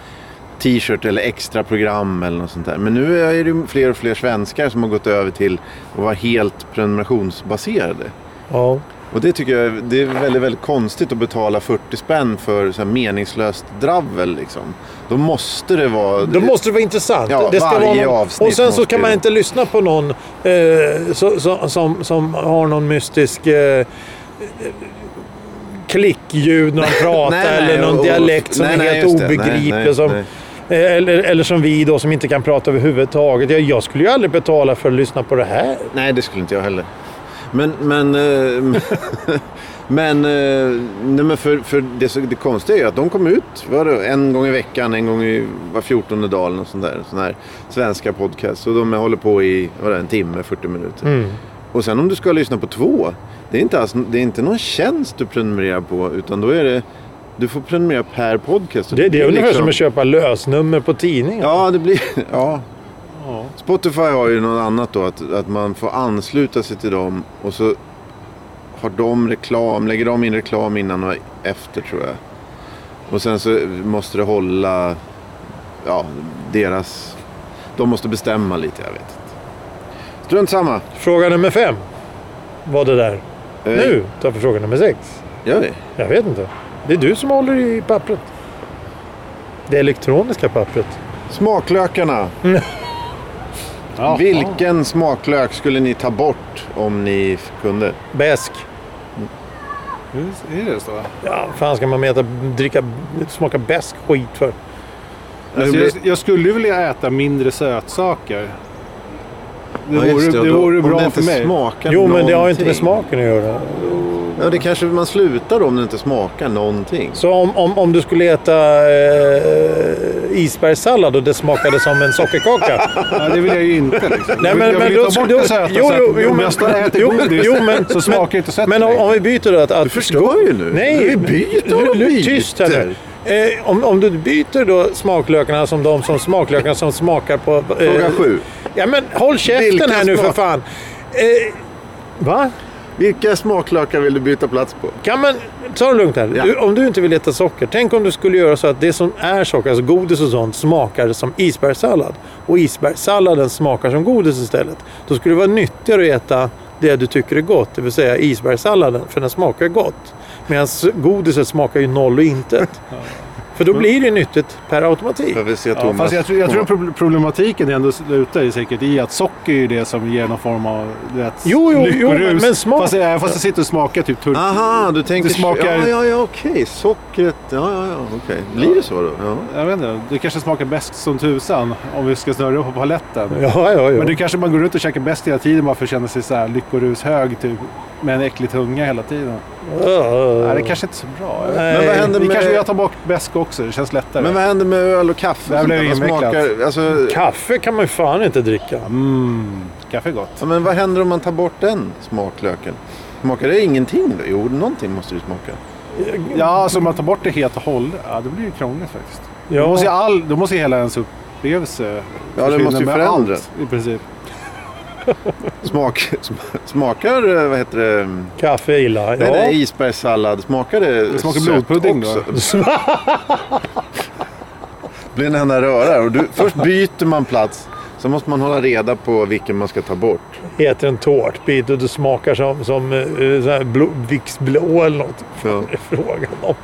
[SPEAKER 3] t-shirt eller extra program eller något sånt där. Men nu är det ju fler och fler svenskar som har gått över till att vara helt prenumerationsbaserade.
[SPEAKER 2] Ja.
[SPEAKER 3] Och det tycker jag det är väldigt, väldigt konstigt att betala 40 spänn för så här meningslöst dravel. Liksom. Då måste det vara...
[SPEAKER 2] Då måste det vara intressant.
[SPEAKER 3] Ja,
[SPEAKER 2] det
[SPEAKER 3] varje
[SPEAKER 2] någon-
[SPEAKER 3] avsnitt
[SPEAKER 2] Och sen så
[SPEAKER 3] måste
[SPEAKER 2] kan
[SPEAKER 3] ju-
[SPEAKER 2] man inte lyssna på någon eh, så, så, som, som har någon mystisk eh, klickljud när de pratar
[SPEAKER 3] Nej, nej,
[SPEAKER 2] eller någon
[SPEAKER 3] och- och-
[SPEAKER 2] dialekt som
[SPEAKER 3] nej,
[SPEAKER 2] är
[SPEAKER 3] nej,
[SPEAKER 2] helt
[SPEAKER 3] just det. Nej,
[SPEAKER 2] obegriplig.
[SPEAKER 3] nej,
[SPEAKER 2] som,
[SPEAKER 3] nej.
[SPEAKER 2] eh, Eller, eller som vi då som inte kan prata överhuvudtaget. Jag, jag skulle ju aldrig betala för att lyssna på det här.
[SPEAKER 3] Nej, det skulle inte jag heller. Men, men, eh, men, eh, nej, men för, för det, så- det konstiga är ju att de kom ut var det, en gång i veckan, en gång i var fjortonde dag eller något sånt där. Sån här svenska podcast. Och de håller på i vad är det, en timme, 40 minuter.
[SPEAKER 2] Mm.
[SPEAKER 3] Och sen om du ska lyssna på två, det är, inte alls, det är inte någon tjänst du prenumererar på. Utan då är det, du får prenumerera per podcast. Och
[SPEAKER 2] Det, det
[SPEAKER 3] blir
[SPEAKER 2] är ungefär
[SPEAKER 3] liksom-
[SPEAKER 2] som att köpa lösnummer på tidningen.
[SPEAKER 3] Ja, det blir... Ja. Spotify har ju något annat då, att, att man får ansluta sig till dem och så har de reklam, lägger de in reklam innan och efter tror jag. Och sen så måste det hålla, ja, deras... De måste bestämma lite, jag vet inte. Strunt samma.
[SPEAKER 2] Fråga nummer fem var det där.
[SPEAKER 3] Eh,
[SPEAKER 2] Nu tar vi fråga nummer sex.
[SPEAKER 3] Gör vi?
[SPEAKER 2] Jag vet inte. Det är du som håller i pappret. Det elektroniska pappret.
[SPEAKER 3] Smaklökarna.
[SPEAKER 1] Ja.
[SPEAKER 3] Vilken smaklök skulle ni ta bort om ni kunde?
[SPEAKER 2] Bäsk.
[SPEAKER 1] Hur Är det så?
[SPEAKER 2] Ja, fan ska man mäta, dricka, smaka bäsk skit för?
[SPEAKER 1] Alltså,
[SPEAKER 3] blir-
[SPEAKER 1] jag, jag skulle ju vilja äta mindre sötsaker. Det
[SPEAKER 3] Ja, just
[SPEAKER 1] vore,
[SPEAKER 3] och
[SPEAKER 1] det
[SPEAKER 3] då-
[SPEAKER 1] vore
[SPEAKER 3] om
[SPEAKER 1] bra
[SPEAKER 3] det
[SPEAKER 1] för
[SPEAKER 3] inte
[SPEAKER 1] mig.
[SPEAKER 3] smakar
[SPEAKER 2] Jo, men det har ju inte med
[SPEAKER 3] någonting.
[SPEAKER 2] smaken att göra.
[SPEAKER 3] Ja, det kanske man slutar då om det inte smakar någonting.
[SPEAKER 2] Så om, om, om du skulle äta eh, isbergssallad och det smakade som en sockerkaka.
[SPEAKER 1] Ja, det vill jag ju inte. Liksom.
[SPEAKER 2] Nej,
[SPEAKER 1] Jag vill-
[SPEAKER 2] men-
[SPEAKER 1] jag
[SPEAKER 2] men
[SPEAKER 1] vill
[SPEAKER 2] då
[SPEAKER 1] ju ta
[SPEAKER 2] skulle-
[SPEAKER 1] bort
[SPEAKER 2] då-
[SPEAKER 1] det söta.
[SPEAKER 2] jo,
[SPEAKER 1] så att
[SPEAKER 2] jo,
[SPEAKER 1] om
[SPEAKER 2] jo, men-
[SPEAKER 1] jag står och äter
[SPEAKER 2] jo,
[SPEAKER 1] godis
[SPEAKER 2] jo, men-
[SPEAKER 1] så smakar inte sötet
[SPEAKER 2] Men om,
[SPEAKER 1] längre.
[SPEAKER 2] om vi byter då att... att
[SPEAKER 3] förstår ju nu.
[SPEAKER 2] Nej,
[SPEAKER 3] Vi byter och
[SPEAKER 2] nu-
[SPEAKER 3] byter.
[SPEAKER 2] Tyst här nu. Eh, om, om du byter då smaklökarna som de som smaklökarna som smakar på... Eh,
[SPEAKER 3] Fråga sju.
[SPEAKER 2] Ja men håll käften
[SPEAKER 3] Vilka
[SPEAKER 2] här nu för
[SPEAKER 3] smak-
[SPEAKER 2] fan. Eh, va?
[SPEAKER 3] Vilka smaklökar vill du byta plats på?
[SPEAKER 2] Kan man... Ta det lugnt här.
[SPEAKER 3] Ja.
[SPEAKER 2] Du, om du inte vill äta socker. Tänk om du skulle göra så att det som är socker, alltså godis och sånt, smakar som isbergssallad. Och isbergssalladen smakar som godis istället. Då skulle det vara nyttigare att äta det du tycker är gott, det vill säga isbergssalladen, för den smakar gott. Medan godiset smakar ju noll och intet. För då blir det nyttigt per automatik.
[SPEAKER 3] Jag vill se
[SPEAKER 1] Ja,
[SPEAKER 3] Thomas.
[SPEAKER 1] fast jag, tror- jag tror pro- problematiken är ändå slutar i säkert i att socker är ju det som ger någon form av du vet,
[SPEAKER 2] Jo, jo, jo,
[SPEAKER 1] lyckorus.
[SPEAKER 2] men smak-
[SPEAKER 1] Fast, jag- fast jag sitter och smakar typ turk...
[SPEAKER 3] Aha, du tänker...
[SPEAKER 1] Det smakar-
[SPEAKER 3] Ja, ja, ja, okej. Sockret. Ja, ja, ja, okej. Blir det så då? Ja.
[SPEAKER 1] Jag vet inte, det kanske smakar bäst som tusan om vi ska snurra upp på paletten.
[SPEAKER 2] Ja, ja, ja.
[SPEAKER 1] Men det kanske man går runt och käkar bäst hela tiden bara för att känna sig så här lyckorushög typ. Med en äcklig tunga hela tiden. Nej, det kanske inte är så bra. jag vet inte.
[SPEAKER 2] Nej.
[SPEAKER 3] Men vad händer
[SPEAKER 1] Det
[SPEAKER 3] med...
[SPEAKER 1] kanske jag tar bort bäsk också, det känns lättare.
[SPEAKER 3] Men vad händer med öl och kaffe?
[SPEAKER 1] Det här blev
[SPEAKER 3] Sånt där, man
[SPEAKER 1] invecklat.
[SPEAKER 3] smakar- Alltså...
[SPEAKER 2] Kaffe kan man ju fan inte dricka.
[SPEAKER 1] Mm, kaffe är gott.
[SPEAKER 3] Ja, men vad händer om man tar bort den smaklöken? Smakar det ingenting då? Jo, någonting måste det smaka.
[SPEAKER 1] Ja, alltså om man tar bort det helt och hållet, ja, det blir ju krångligt faktiskt.
[SPEAKER 2] Ja.
[SPEAKER 1] Då, måste ju all, då måste ju hela ens upplevelse
[SPEAKER 3] det
[SPEAKER 1] försvinna
[SPEAKER 3] måste ju
[SPEAKER 1] med
[SPEAKER 3] förändras.
[SPEAKER 1] Allt, I princip.
[SPEAKER 3] Smak... Smakar... eh, Vad heter det?
[SPEAKER 2] Kaffe är illa.
[SPEAKER 3] Nej,
[SPEAKER 2] ja.
[SPEAKER 3] nej, isbergssallad. Smakar det
[SPEAKER 1] Det smakar
[SPEAKER 3] sött
[SPEAKER 1] blodpudding
[SPEAKER 3] också? blir en enda röra. Och du, först byter man plats, sen måste man hålla reda på vilken man ska ta bort.
[SPEAKER 2] äter en tårtbit och det smakar som, som eh, sån här blå, Vicks blå eller något.
[SPEAKER 3] Ja.
[SPEAKER 2] Det är frågan om.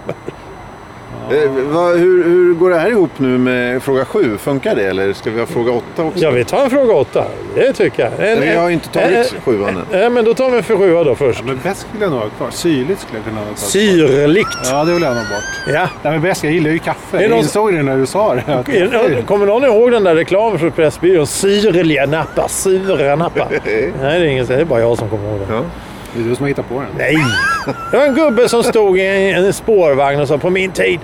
[SPEAKER 3] Eh, vad, hur, hur går det här ihop nu med fråga sju? Funkar det eller ska vi ha fråga åtta också?
[SPEAKER 2] Ja, vi tar en fråga åtta. Det tycker jag. En,
[SPEAKER 3] Nej, vi har ju inte Eh, tagit sjuan än.
[SPEAKER 2] Nej, men då tar vi en för sjua då först.
[SPEAKER 1] Men bäst skulle jag nog ha kvar. Syrligt skulle jag kunna ha kvar.
[SPEAKER 2] Syrligt.
[SPEAKER 1] Ja, det vill jag nog bort.
[SPEAKER 2] Ja.
[SPEAKER 1] Nej, men bäst, jag gillar ju kaffe.
[SPEAKER 2] Är det
[SPEAKER 1] Jag
[SPEAKER 2] någon-
[SPEAKER 1] insåg det när du sa det. att-
[SPEAKER 2] Kommer någon ihåg den där reklamen från Pressbyrån? Syrliga Napa, Syra Napa. Nej, det är, ingen, det är bara jag som kommer ihåg det.
[SPEAKER 3] Eh, Ja.
[SPEAKER 1] Det är du som har hittat på den.
[SPEAKER 2] Nej! Det var en gubbe som stod i en, en spårvagn och sa på min tid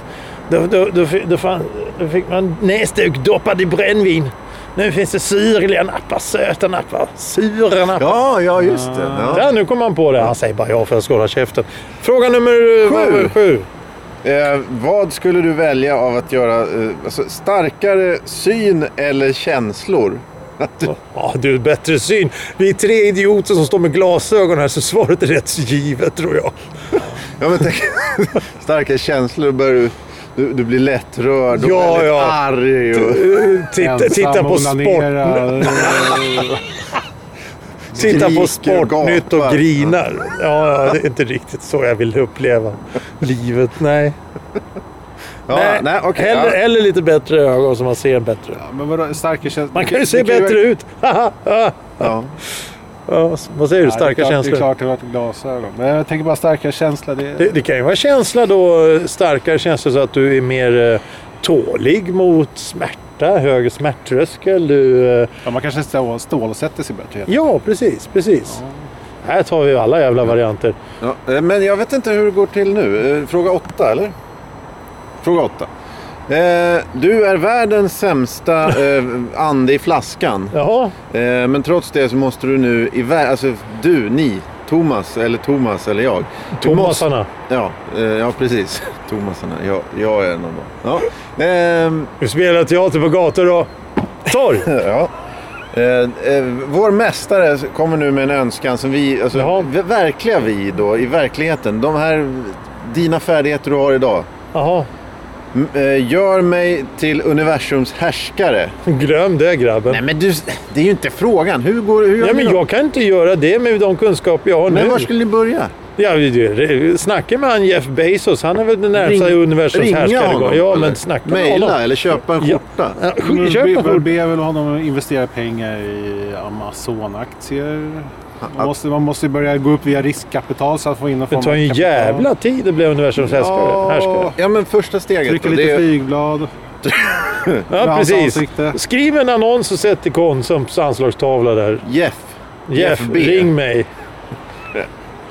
[SPEAKER 2] då, då, då, fi- då, fan, då fick man näsduk doppad i brännvin. Nu finns det syrliga nappar, söta nappar, sura nappar.
[SPEAKER 3] ja, ja, just det. Ja.
[SPEAKER 2] Där, nu kom han på det. Han säger bara ja för att skåda käften. Fråga nummer eh, vad var det? sju.
[SPEAKER 3] Eh, vad skulle du välja av att göra? Eh, alltså, starkare syn eller känslor?
[SPEAKER 2] Ja, du, bättre syn. Vi är tre idioter som står med glasögon här, så svaret är rätt så givet tror jag.
[SPEAKER 3] Ja, men tänk, starka känslor börjar du... Du, du blir lättrörd och
[SPEAKER 2] Ja,
[SPEAKER 3] väldigt
[SPEAKER 2] ja.
[SPEAKER 3] arg. Och,
[SPEAKER 2] Eh, Titta, titta på sport.
[SPEAKER 1] onanera.
[SPEAKER 2] Titta på
[SPEAKER 3] Skriker och
[SPEAKER 2] Sportnytt och
[SPEAKER 3] gapar.
[SPEAKER 2] grinar. Ja, ja, det är inte riktigt så jag vill uppleva livet. Nej.
[SPEAKER 3] ja,
[SPEAKER 2] nej.
[SPEAKER 3] nej, okej,
[SPEAKER 2] eller,
[SPEAKER 3] ja.
[SPEAKER 2] eller lite bättre ögon så man ser bättre.
[SPEAKER 1] Ja, men vadå, starka känslor?
[SPEAKER 2] Man kan ju se bättre ut.
[SPEAKER 3] Ja.
[SPEAKER 2] ja, vad säger du? Starka
[SPEAKER 1] det är klart,
[SPEAKER 2] känslor?
[SPEAKER 1] Det är klart det har varit glasögon. Men jag tänker bara starka känslor. Det,
[SPEAKER 2] Det, det kan ju vara känsla då, eh, starkare känsla så att du är mer eh, tålig mot smärta, högre smärttröskel. Du, eh,
[SPEAKER 1] ja, man kanske stå- stålsätter sig bättre. helt
[SPEAKER 2] ja, precis, precis. Här tar vi alla jävla varianter.
[SPEAKER 3] Ja, eh, men jag vet inte hur det går till nu. Eh, Fråga åtta, eller? Fråga åtta. Eh, du är världens sämsta eh, ande i flaskan.
[SPEAKER 2] Jaha,
[SPEAKER 3] Eh, men trots det så måste du nu i vär- Alltså du, ni, Thomas eller Thomas eller jag. Du måste-
[SPEAKER 2] Tomasarna.
[SPEAKER 3] Ja, eh, ja precis. Thomasarna. Jag, jag är en av dem. Ja. Ehm,
[SPEAKER 2] Vi spelar teater på gator och torg.
[SPEAKER 3] ja. Eh, eh, vår mästare kommer nu med en önskan som vi, alltså,
[SPEAKER 2] Jaha.
[SPEAKER 3] v- verkliga vi då, i verkligheten. De här, dina färdigheter du har idag.
[SPEAKER 2] Jaha,
[SPEAKER 3] M- eh, Gör mig till universums härskare.
[SPEAKER 2] glöm det grabben.
[SPEAKER 3] Nej men du, det är ju inte frågan. Hur går hur gör
[SPEAKER 2] Ja, men
[SPEAKER 3] ni då?
[SPEAKER 2] jag kan inte göra det med de kunskaper jag har
[SPEAKER 3] Men
[SPEAKER 2] nu.
[SPEAKER 3] var skulle ni börja?
[SPEAKER 2] Ja, du, snacka med han Jeff Bezos. Han är väl den närmsta
[SPEAKER 3] Ring-
[SPEAKER 2] universums
[SPEAKER 3] Ringa
[SPEAKER 2] härskare.
[SPEAKER 3] honom?
[SPEAKER 2] Ja,
[SPEAKER 3] eller? Mm,
[SPEAKER 2] men snacka med
[SPEAKER 3] Maila
[SPEAKER 2] honom.
[SPEAKER 3] eller köpa en
[SPEAKER 2] Ja.
[SPEAKER 3] skjorta?
[SPEAKER 2] Ja,
[SPEAKER 1] enkelt.
[SPEAKER 2] sk- Köp en
[SPEAKER 1] Be,
[SPEAKER 2] skjorta.
[SPEAKER 1] be väl honom att investera pengar i Amazon-aktier. Man måste, man måste ju börja gå upp via riskkapital så att få in någon
[SPEAKER 2] Det
[SPEAKER 1] form
[SPEAKER 2] tar ju en
[SPEAKER 1] kapital.
[SPEAKER 2] jävla tid att bli universums härskare. härskare.
[SPEAKER 3] Ja, men första steget.
[SPEAKER 1] Trycka
[SPEAKER 3] då,
[SPEAKER 1] lite
[SPEAKER 3] det är-
[SPEAKER 1] flygblad.
[SPEAKER 2] Ja,
[SPEAKER 1] hans
[SPEAKER 2] precis.
[SPEAKER 1] ansikte.
[SPEAKER 2] Skriv en annons och sätt i Konsums anslagstavla där.
[SPEAKER 3] Jeff.
[SPEAKER 2] Jeff,
[SPEAKER 3] B.
[SPEAKER 2] ring mig.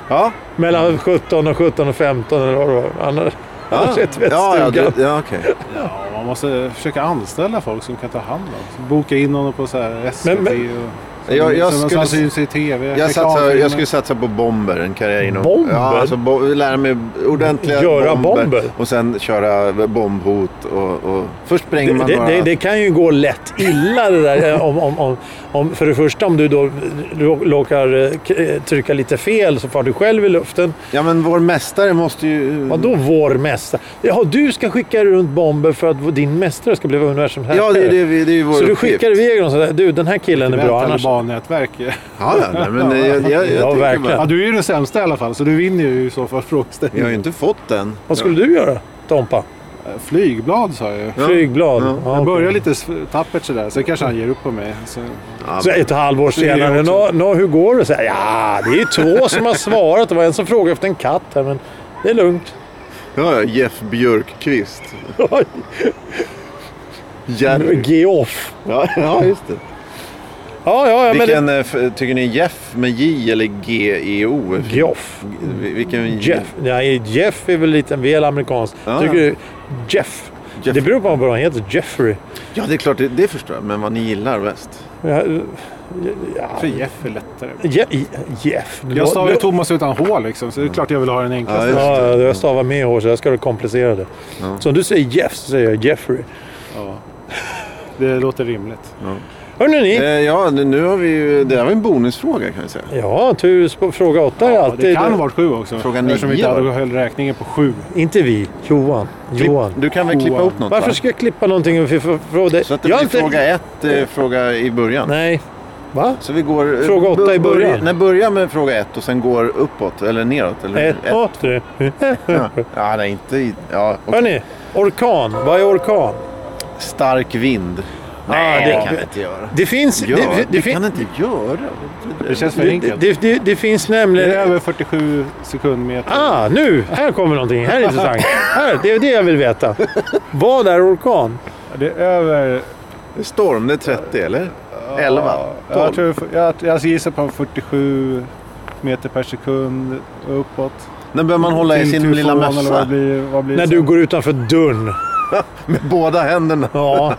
[SPEAKER 3] Ja,
[SPEAKER 2] Mellan 17 och 17 och 15 eller vad det var. Annars, annars är det
[SPEAKER 3] ja, ja,
[SPEAKER 2] tvättstugan.
[SPEAKER 3] det- ja okej.
[SPEAKER 1] Ja, man måste försöka anställa folk som kan ta hand om det. Boka in honom på så här SVT
[SPEAKER 2] Men- men-
[SPEAKER 1] och...
[SPEAKER 3] Jag- jag
[SPEAKER 1] som- som
[SPEAKER 3] skulle-
[SPEAKER 1] han syns i TV.
[SPEAKER 3] Jag, satsar,
[SPEAKER 1] reklamfilmer.
[SPEAKER 3] jag skulle satsa på bomber, en karriär inom...
[SPEAKER 2] Bomber?
[SPEAKER 3] Ja, alltså bo, lära mig ordentliga
[SPEAKER 2] Göra bomber?
[SPEAKER 3] Och sen köra bombhot och... och först spränger
[SPEAKER 2] Det,
[SPEAKER 3] man
[SPEAKER 2] det,
[SPEAKER 3] några...
[SPEAKER 2] det, det kan ju gå lätt illa det där. eh, Om, om, om, om, för det första om du då råkar eh, k- eh, trycka lite fel så far du själv i luften.
[SPEAKER 3] Ja, men vår mästare måste ju...
[SPEAKER 2] Vadå vår mästare? Jaha, du ska skicka runt bomber för att din mästare ska bli universums härskare?
[SPEAKER 3] Ja, det, är det, vi- det är ju vår
[SPEAKER 2] Så du
[SPEAKER 3] uppgift.
[SPEAKER 2] skickar iväg någon sådär, du den här killen är bra annars...
[SPEAKER 1] Taliban-nätverk.
[SPEAKER 3] Ja, ja, nej, men jag, jag, jag,
[SPEAKER 2] Ja,
[SPEAKER 3] tänker
[SPEAKER 2] verkligen.
[SPEAKER 3] Bara,
[SPEAKER 1] Ja, du är ju den sämsta i alla fall, så du vinner ju i så fall
[SPEAKER 3] jag har ju
[SPEAKER 1] frågeställningen.
[SPEAKER 3] inte fått den.
[SPEAKER 2] Vad skulle du göra, Tompa?
[SPEAKER 1] Flygblad sa jag ju.
[SPEAKER 3] Ja.
[SPEAKER 2] Flygblad?
[SPEAKER 3] Ja.
[SPEAKER 1] Jag
[SPEAKER 2] okej.
[SPEAKER 1] börjar lite s- tappert sådär, sen kanske han ger upp på mig. Så...
[SPEAKER 3] Ja,
[SPEAKER 2] Så ett halvår
[SPEAKER 1] är jag
[SPEAKER 2] senare, nå,
[SPEAKER 1] också.
[SPEAKER 2] nå, hur går det? Så här, ja, det är ju två som har svarat. Det var en som frågade efter en katt här, men det är lugnt.
[SPEAKER 3] ja, ja, Jeff Björkqvist.
[SPEAKER 2] Mm.
[SPEAKER 3] Jerry.
[SPEAKER 2] Geoff.
[SPEAKER 3] Ja, ja, just det.
[SPEAKER 2] Ja, ja, ja, men det...
[SPEAKER 3] Vilken, eh, f- tycker ni Jeff med J eller G-E-O?
[SPEAKER 2] Geoff.
[SPEAKER 3] Vi- Vilken
[SPEAKER 2] Jeff. Nej, Jeff är väl lite väl amerikansk.
[SPEAKER 3] Ja,
[SPEAKER 2] Tycker
[SPEAKER 3] ja.
[SPEAKER 2] du Jeff?
[SPEAKER 3] Jeff.
[SPEAKER 2] Det beror på vad han heter. Jeffrey.
[SPEAKER 3] Ja, det är klart, det, det förstår jag. Men vad ni gillar bäst?
[SPEAKER 2] Ja, ja,
[SPEAKER 1] För Jeff är lättare.
[SPEAKER 2] Je- Jeff.
[SPEAKER 1] Jag stavar ju
[SPEAKER 2] ja,
[SPEAKER 1] Thomas utan H liksom, så det är klart jag vill ha den enklaste.
[SPEAKER 3] Ja,
[SPEAKER 2] ja, jag stavar med hår så jag ska komplicera det. Så om du säger Jeff så säger jag Jeffrey.
[SPEAKER 1] Ja. Det låter rimligt.
[SPEAKER 2] Hörrni ni.
[SPEAKER 3] Eh, ja, nu, nu har vi ju... Det här var en bonusfråga kan vi säga.
[SPEAKER 2] Ja, tur sp- fråga åtta är
[SPEAKER 1] Ja,
[SPEAKER 2] alltid...
[SPEAKER 1] det kan ha varit sju också.
[SPEAKER 3] Fråga
[SPEAKER 1] Eftersom vi
[SPEAKER 3] nio,
[SPEAKER 1] inte hade
[SPEAKER 3] va?
[SPEAKER 1] höll räkningen på sju.
[SPEAKER 2] Inte vi. Johan. Johan.
[SPEAKER 3] Klipp, du kan väl klippa
[SPEAKER 1] Johan.
[SPEAKER 3] upp något?
[SPEAKER 2] Varför
[SPEAKER 3] va?
[SPEAKER 2] ska jag klippa någonting? För, för, för det?
[SPEAKER 3] Så att det
[SPEAKER 2] jag
[SPEAKER 3] blir
[SPEAKER 2] har inte-
[SPEAKER 3] fråga ett, eh, fråga i början.
[SPEAKER 2] Nej. Va?
[SPEAKER 3] Så vi går... eh,
[SPEAKER 2] Fråga åtta
[SPEAKER 3] bör-
[SPEAKER 2] i början.
[SPEAKER 3] börja- Nej, börja med fråga ett och sen går uppåt eller neråt. Eller
[SPEAKER 2] Ett, två, tre.
[SPEAKER 3] Ja. ja, nej, inte... i- Ja, och
[SPEAKER 2] Hörni, orkan. Vad är orkan?
[SPEAKER 3] stark vind.
[SPEAKER 2] Nej, det-
[SPEAKER 3] kan vi inte göra.
[SPEAKER 2] Det finns...
[SPEAKER 3] Gör,
[SPEAKER 2] det,
[SPEAKER 3] det,
[SPEAKER 2] det, fin-
[SPEAKER 3] kan inte göra.
[SPEAKER 1] Det känns för
[SPEAKER 2] det,
[SPEAKER 1] enkelt.
[SPEAKER 2] det, det, det finns
[SPEAKER 1] Det
[SPEAKER 2] nämligen...
[SPEAKER 1] är över 47 sekundmeter.
[SPEAKER 2] Ah, nu! Här kommer någonting. Här är intressant. Här, det är det jag vill veta. Vad är orkan?
[SPEAKER 1] Det är över...
[SPEAKER 3] Storm, det är 30 eller? 11?
[SPEAKER 1] Jag,
[SPEAKER 3] 12?
[SPEAKER 1] tror, jag, jag gissar på 47 meter per sekund och uppåt.
[SPEAKER 3] När bör man hålla i
[SPEAKER 1] Till
[SPEAKER 3] sin
[SPEAKER 1] tufon
[SPEAKER 3] lilla
[SPEAKER 1] eller Vad
[SPEAKER 3] mössa?
[SPEAKER 1] blir, vad blir
[SPEAKER 2] När
[SPEAKER 1] det
[SPEAKER 2] du
[SPEAKER 1] sen?
[SPEAKER 2] går utanför dörren.
[SPEAKER 3] Med båda händerna?
[SPEAKER 2] Ja,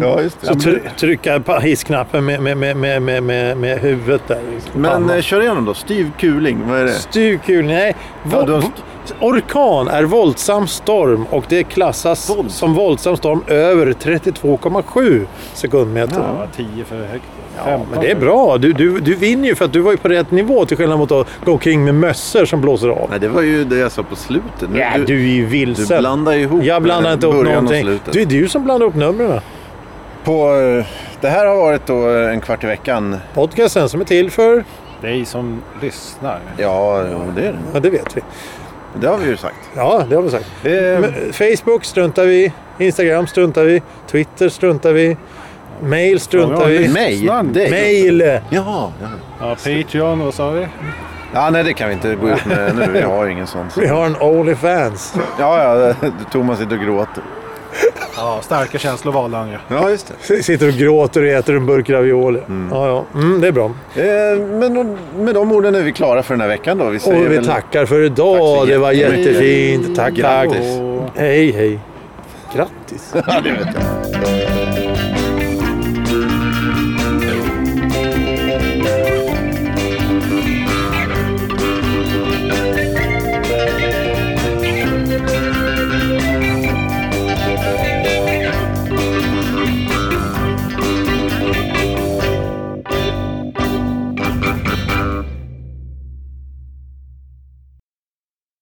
[SPEAKER 3] Ja, just det.
[SPEAKER 2] så try- trycka på hissknappen med, med, med, med, med, med, med huvudet där.
[SPEAKER 3] Men eh, kör igenom då. Styv kuling, vad är det?
[SPEAKER 2] Stuvkul, nej.
[SPEAKER 3] Ja,
[SPEAKER 2] Vad,
[SPEAKER 3] du har
[SPEAKER 2] vad-
[SPEAKER 3] st-
[SPEAKER 2] Orkan är våldsam storm och det klassas
[SPEAKER 3] Våldsam.
[SPEAKER 2] som våldsam storm över 32,7 sekundmeter.
[SPEAKER 1] Ja, 10 för högt.
[SPEAKER 2] Ja, men det är bra. Du, du, du vinner ju för att du var ju på rätt nivå till skillnad mot att gå omkring med mössor som blåser av.
[SPEAKER 3] Nej, det var ju det jag sa på slutet. Nu-
[SPEAKER 2] Ja, du, är ju
[SPEAKER 3] du
[SPEAKER 2] vilsen.
[SPEAKER 3] blandar ihop
[SPEAKER 2] jag blandar inte upp
[SPEAKER 3] början
[SPEAKER 2] någonting.
[SPEAKER 3] och slutet.
[SPEAKER 2] Det är du som blandar upp numren.
[SPEAKER 3] På, eh, det här har varit då eh, en kvart i veckan.
[SPEAKER 2] Podcasten som är till för...
[SPEAKER 1] Dig som lyssnar.
[SPEAKER 3] Ja, jo, det är det.
[SPEAKER 2] Ja, det vet vi.
[SPEAKER 3] Det har vi ju sagt.
[SPEAKER 2] Ja, det har vi sagt.
[SPEAKER 3] Eh,
[SPEAKER 2] Men Facebook struntar vi. Instagram struntar vi. Twitter struntar vi. Mail struntar
[SPEAKER 1] Ja,
[SPEAKER 2] vi.
[SPEAKER 1] men-
[SPEAKER 3] mig?
[SPEAKER 1] lyssnar-
[SPEAKER 3] Dig?
[SPEAKER 2] Mail!
[SPEAKER 3] Ja, ja.
[SPEAKER 1] Ja, Patreon, vad sa vi?
[SPEAKER 3] ja, nej det kan vi inte gå ut med nu. Vi har ju ingen sån.
[SPEAKER 2] Vi har en Onlyfans.
[SPEAKER 3] Ja, ja, Thomas sitter och gråter.
[SPEAKER 1] Ja, starka känslor valde han ju.
[SPEAKER 3] Ja, just det.
[SPEAKER 2] Sitter och gråter och äter en burk ravioli. Ja, ja. Mm, det är bra.
[SPEAKER 3] Eh, Men med de orden är vi klara för den här veckan då. Vi
[SPEAKER 2] Och
[SPEAKER 3] säger
[SPEAKER 2] vi
[SPEAKER 3] väl-
[SPEAKER 2] tackar för
[SPEAKER 3] Tack
[SPEAKER 2] idag.
[SPEAKER 3] så
[SPEAKER 2] Det var
[SPEAKER 3] jättemycket.
[SPEAKER 2] jättefint. Tack, tack.
[SPEAKER 3] Grattis.
[SPEAKER 1] Och...
[SPEAKER 2] Hej, hej. Grattis.
[SPEAKER 3] Ja, det vet jag.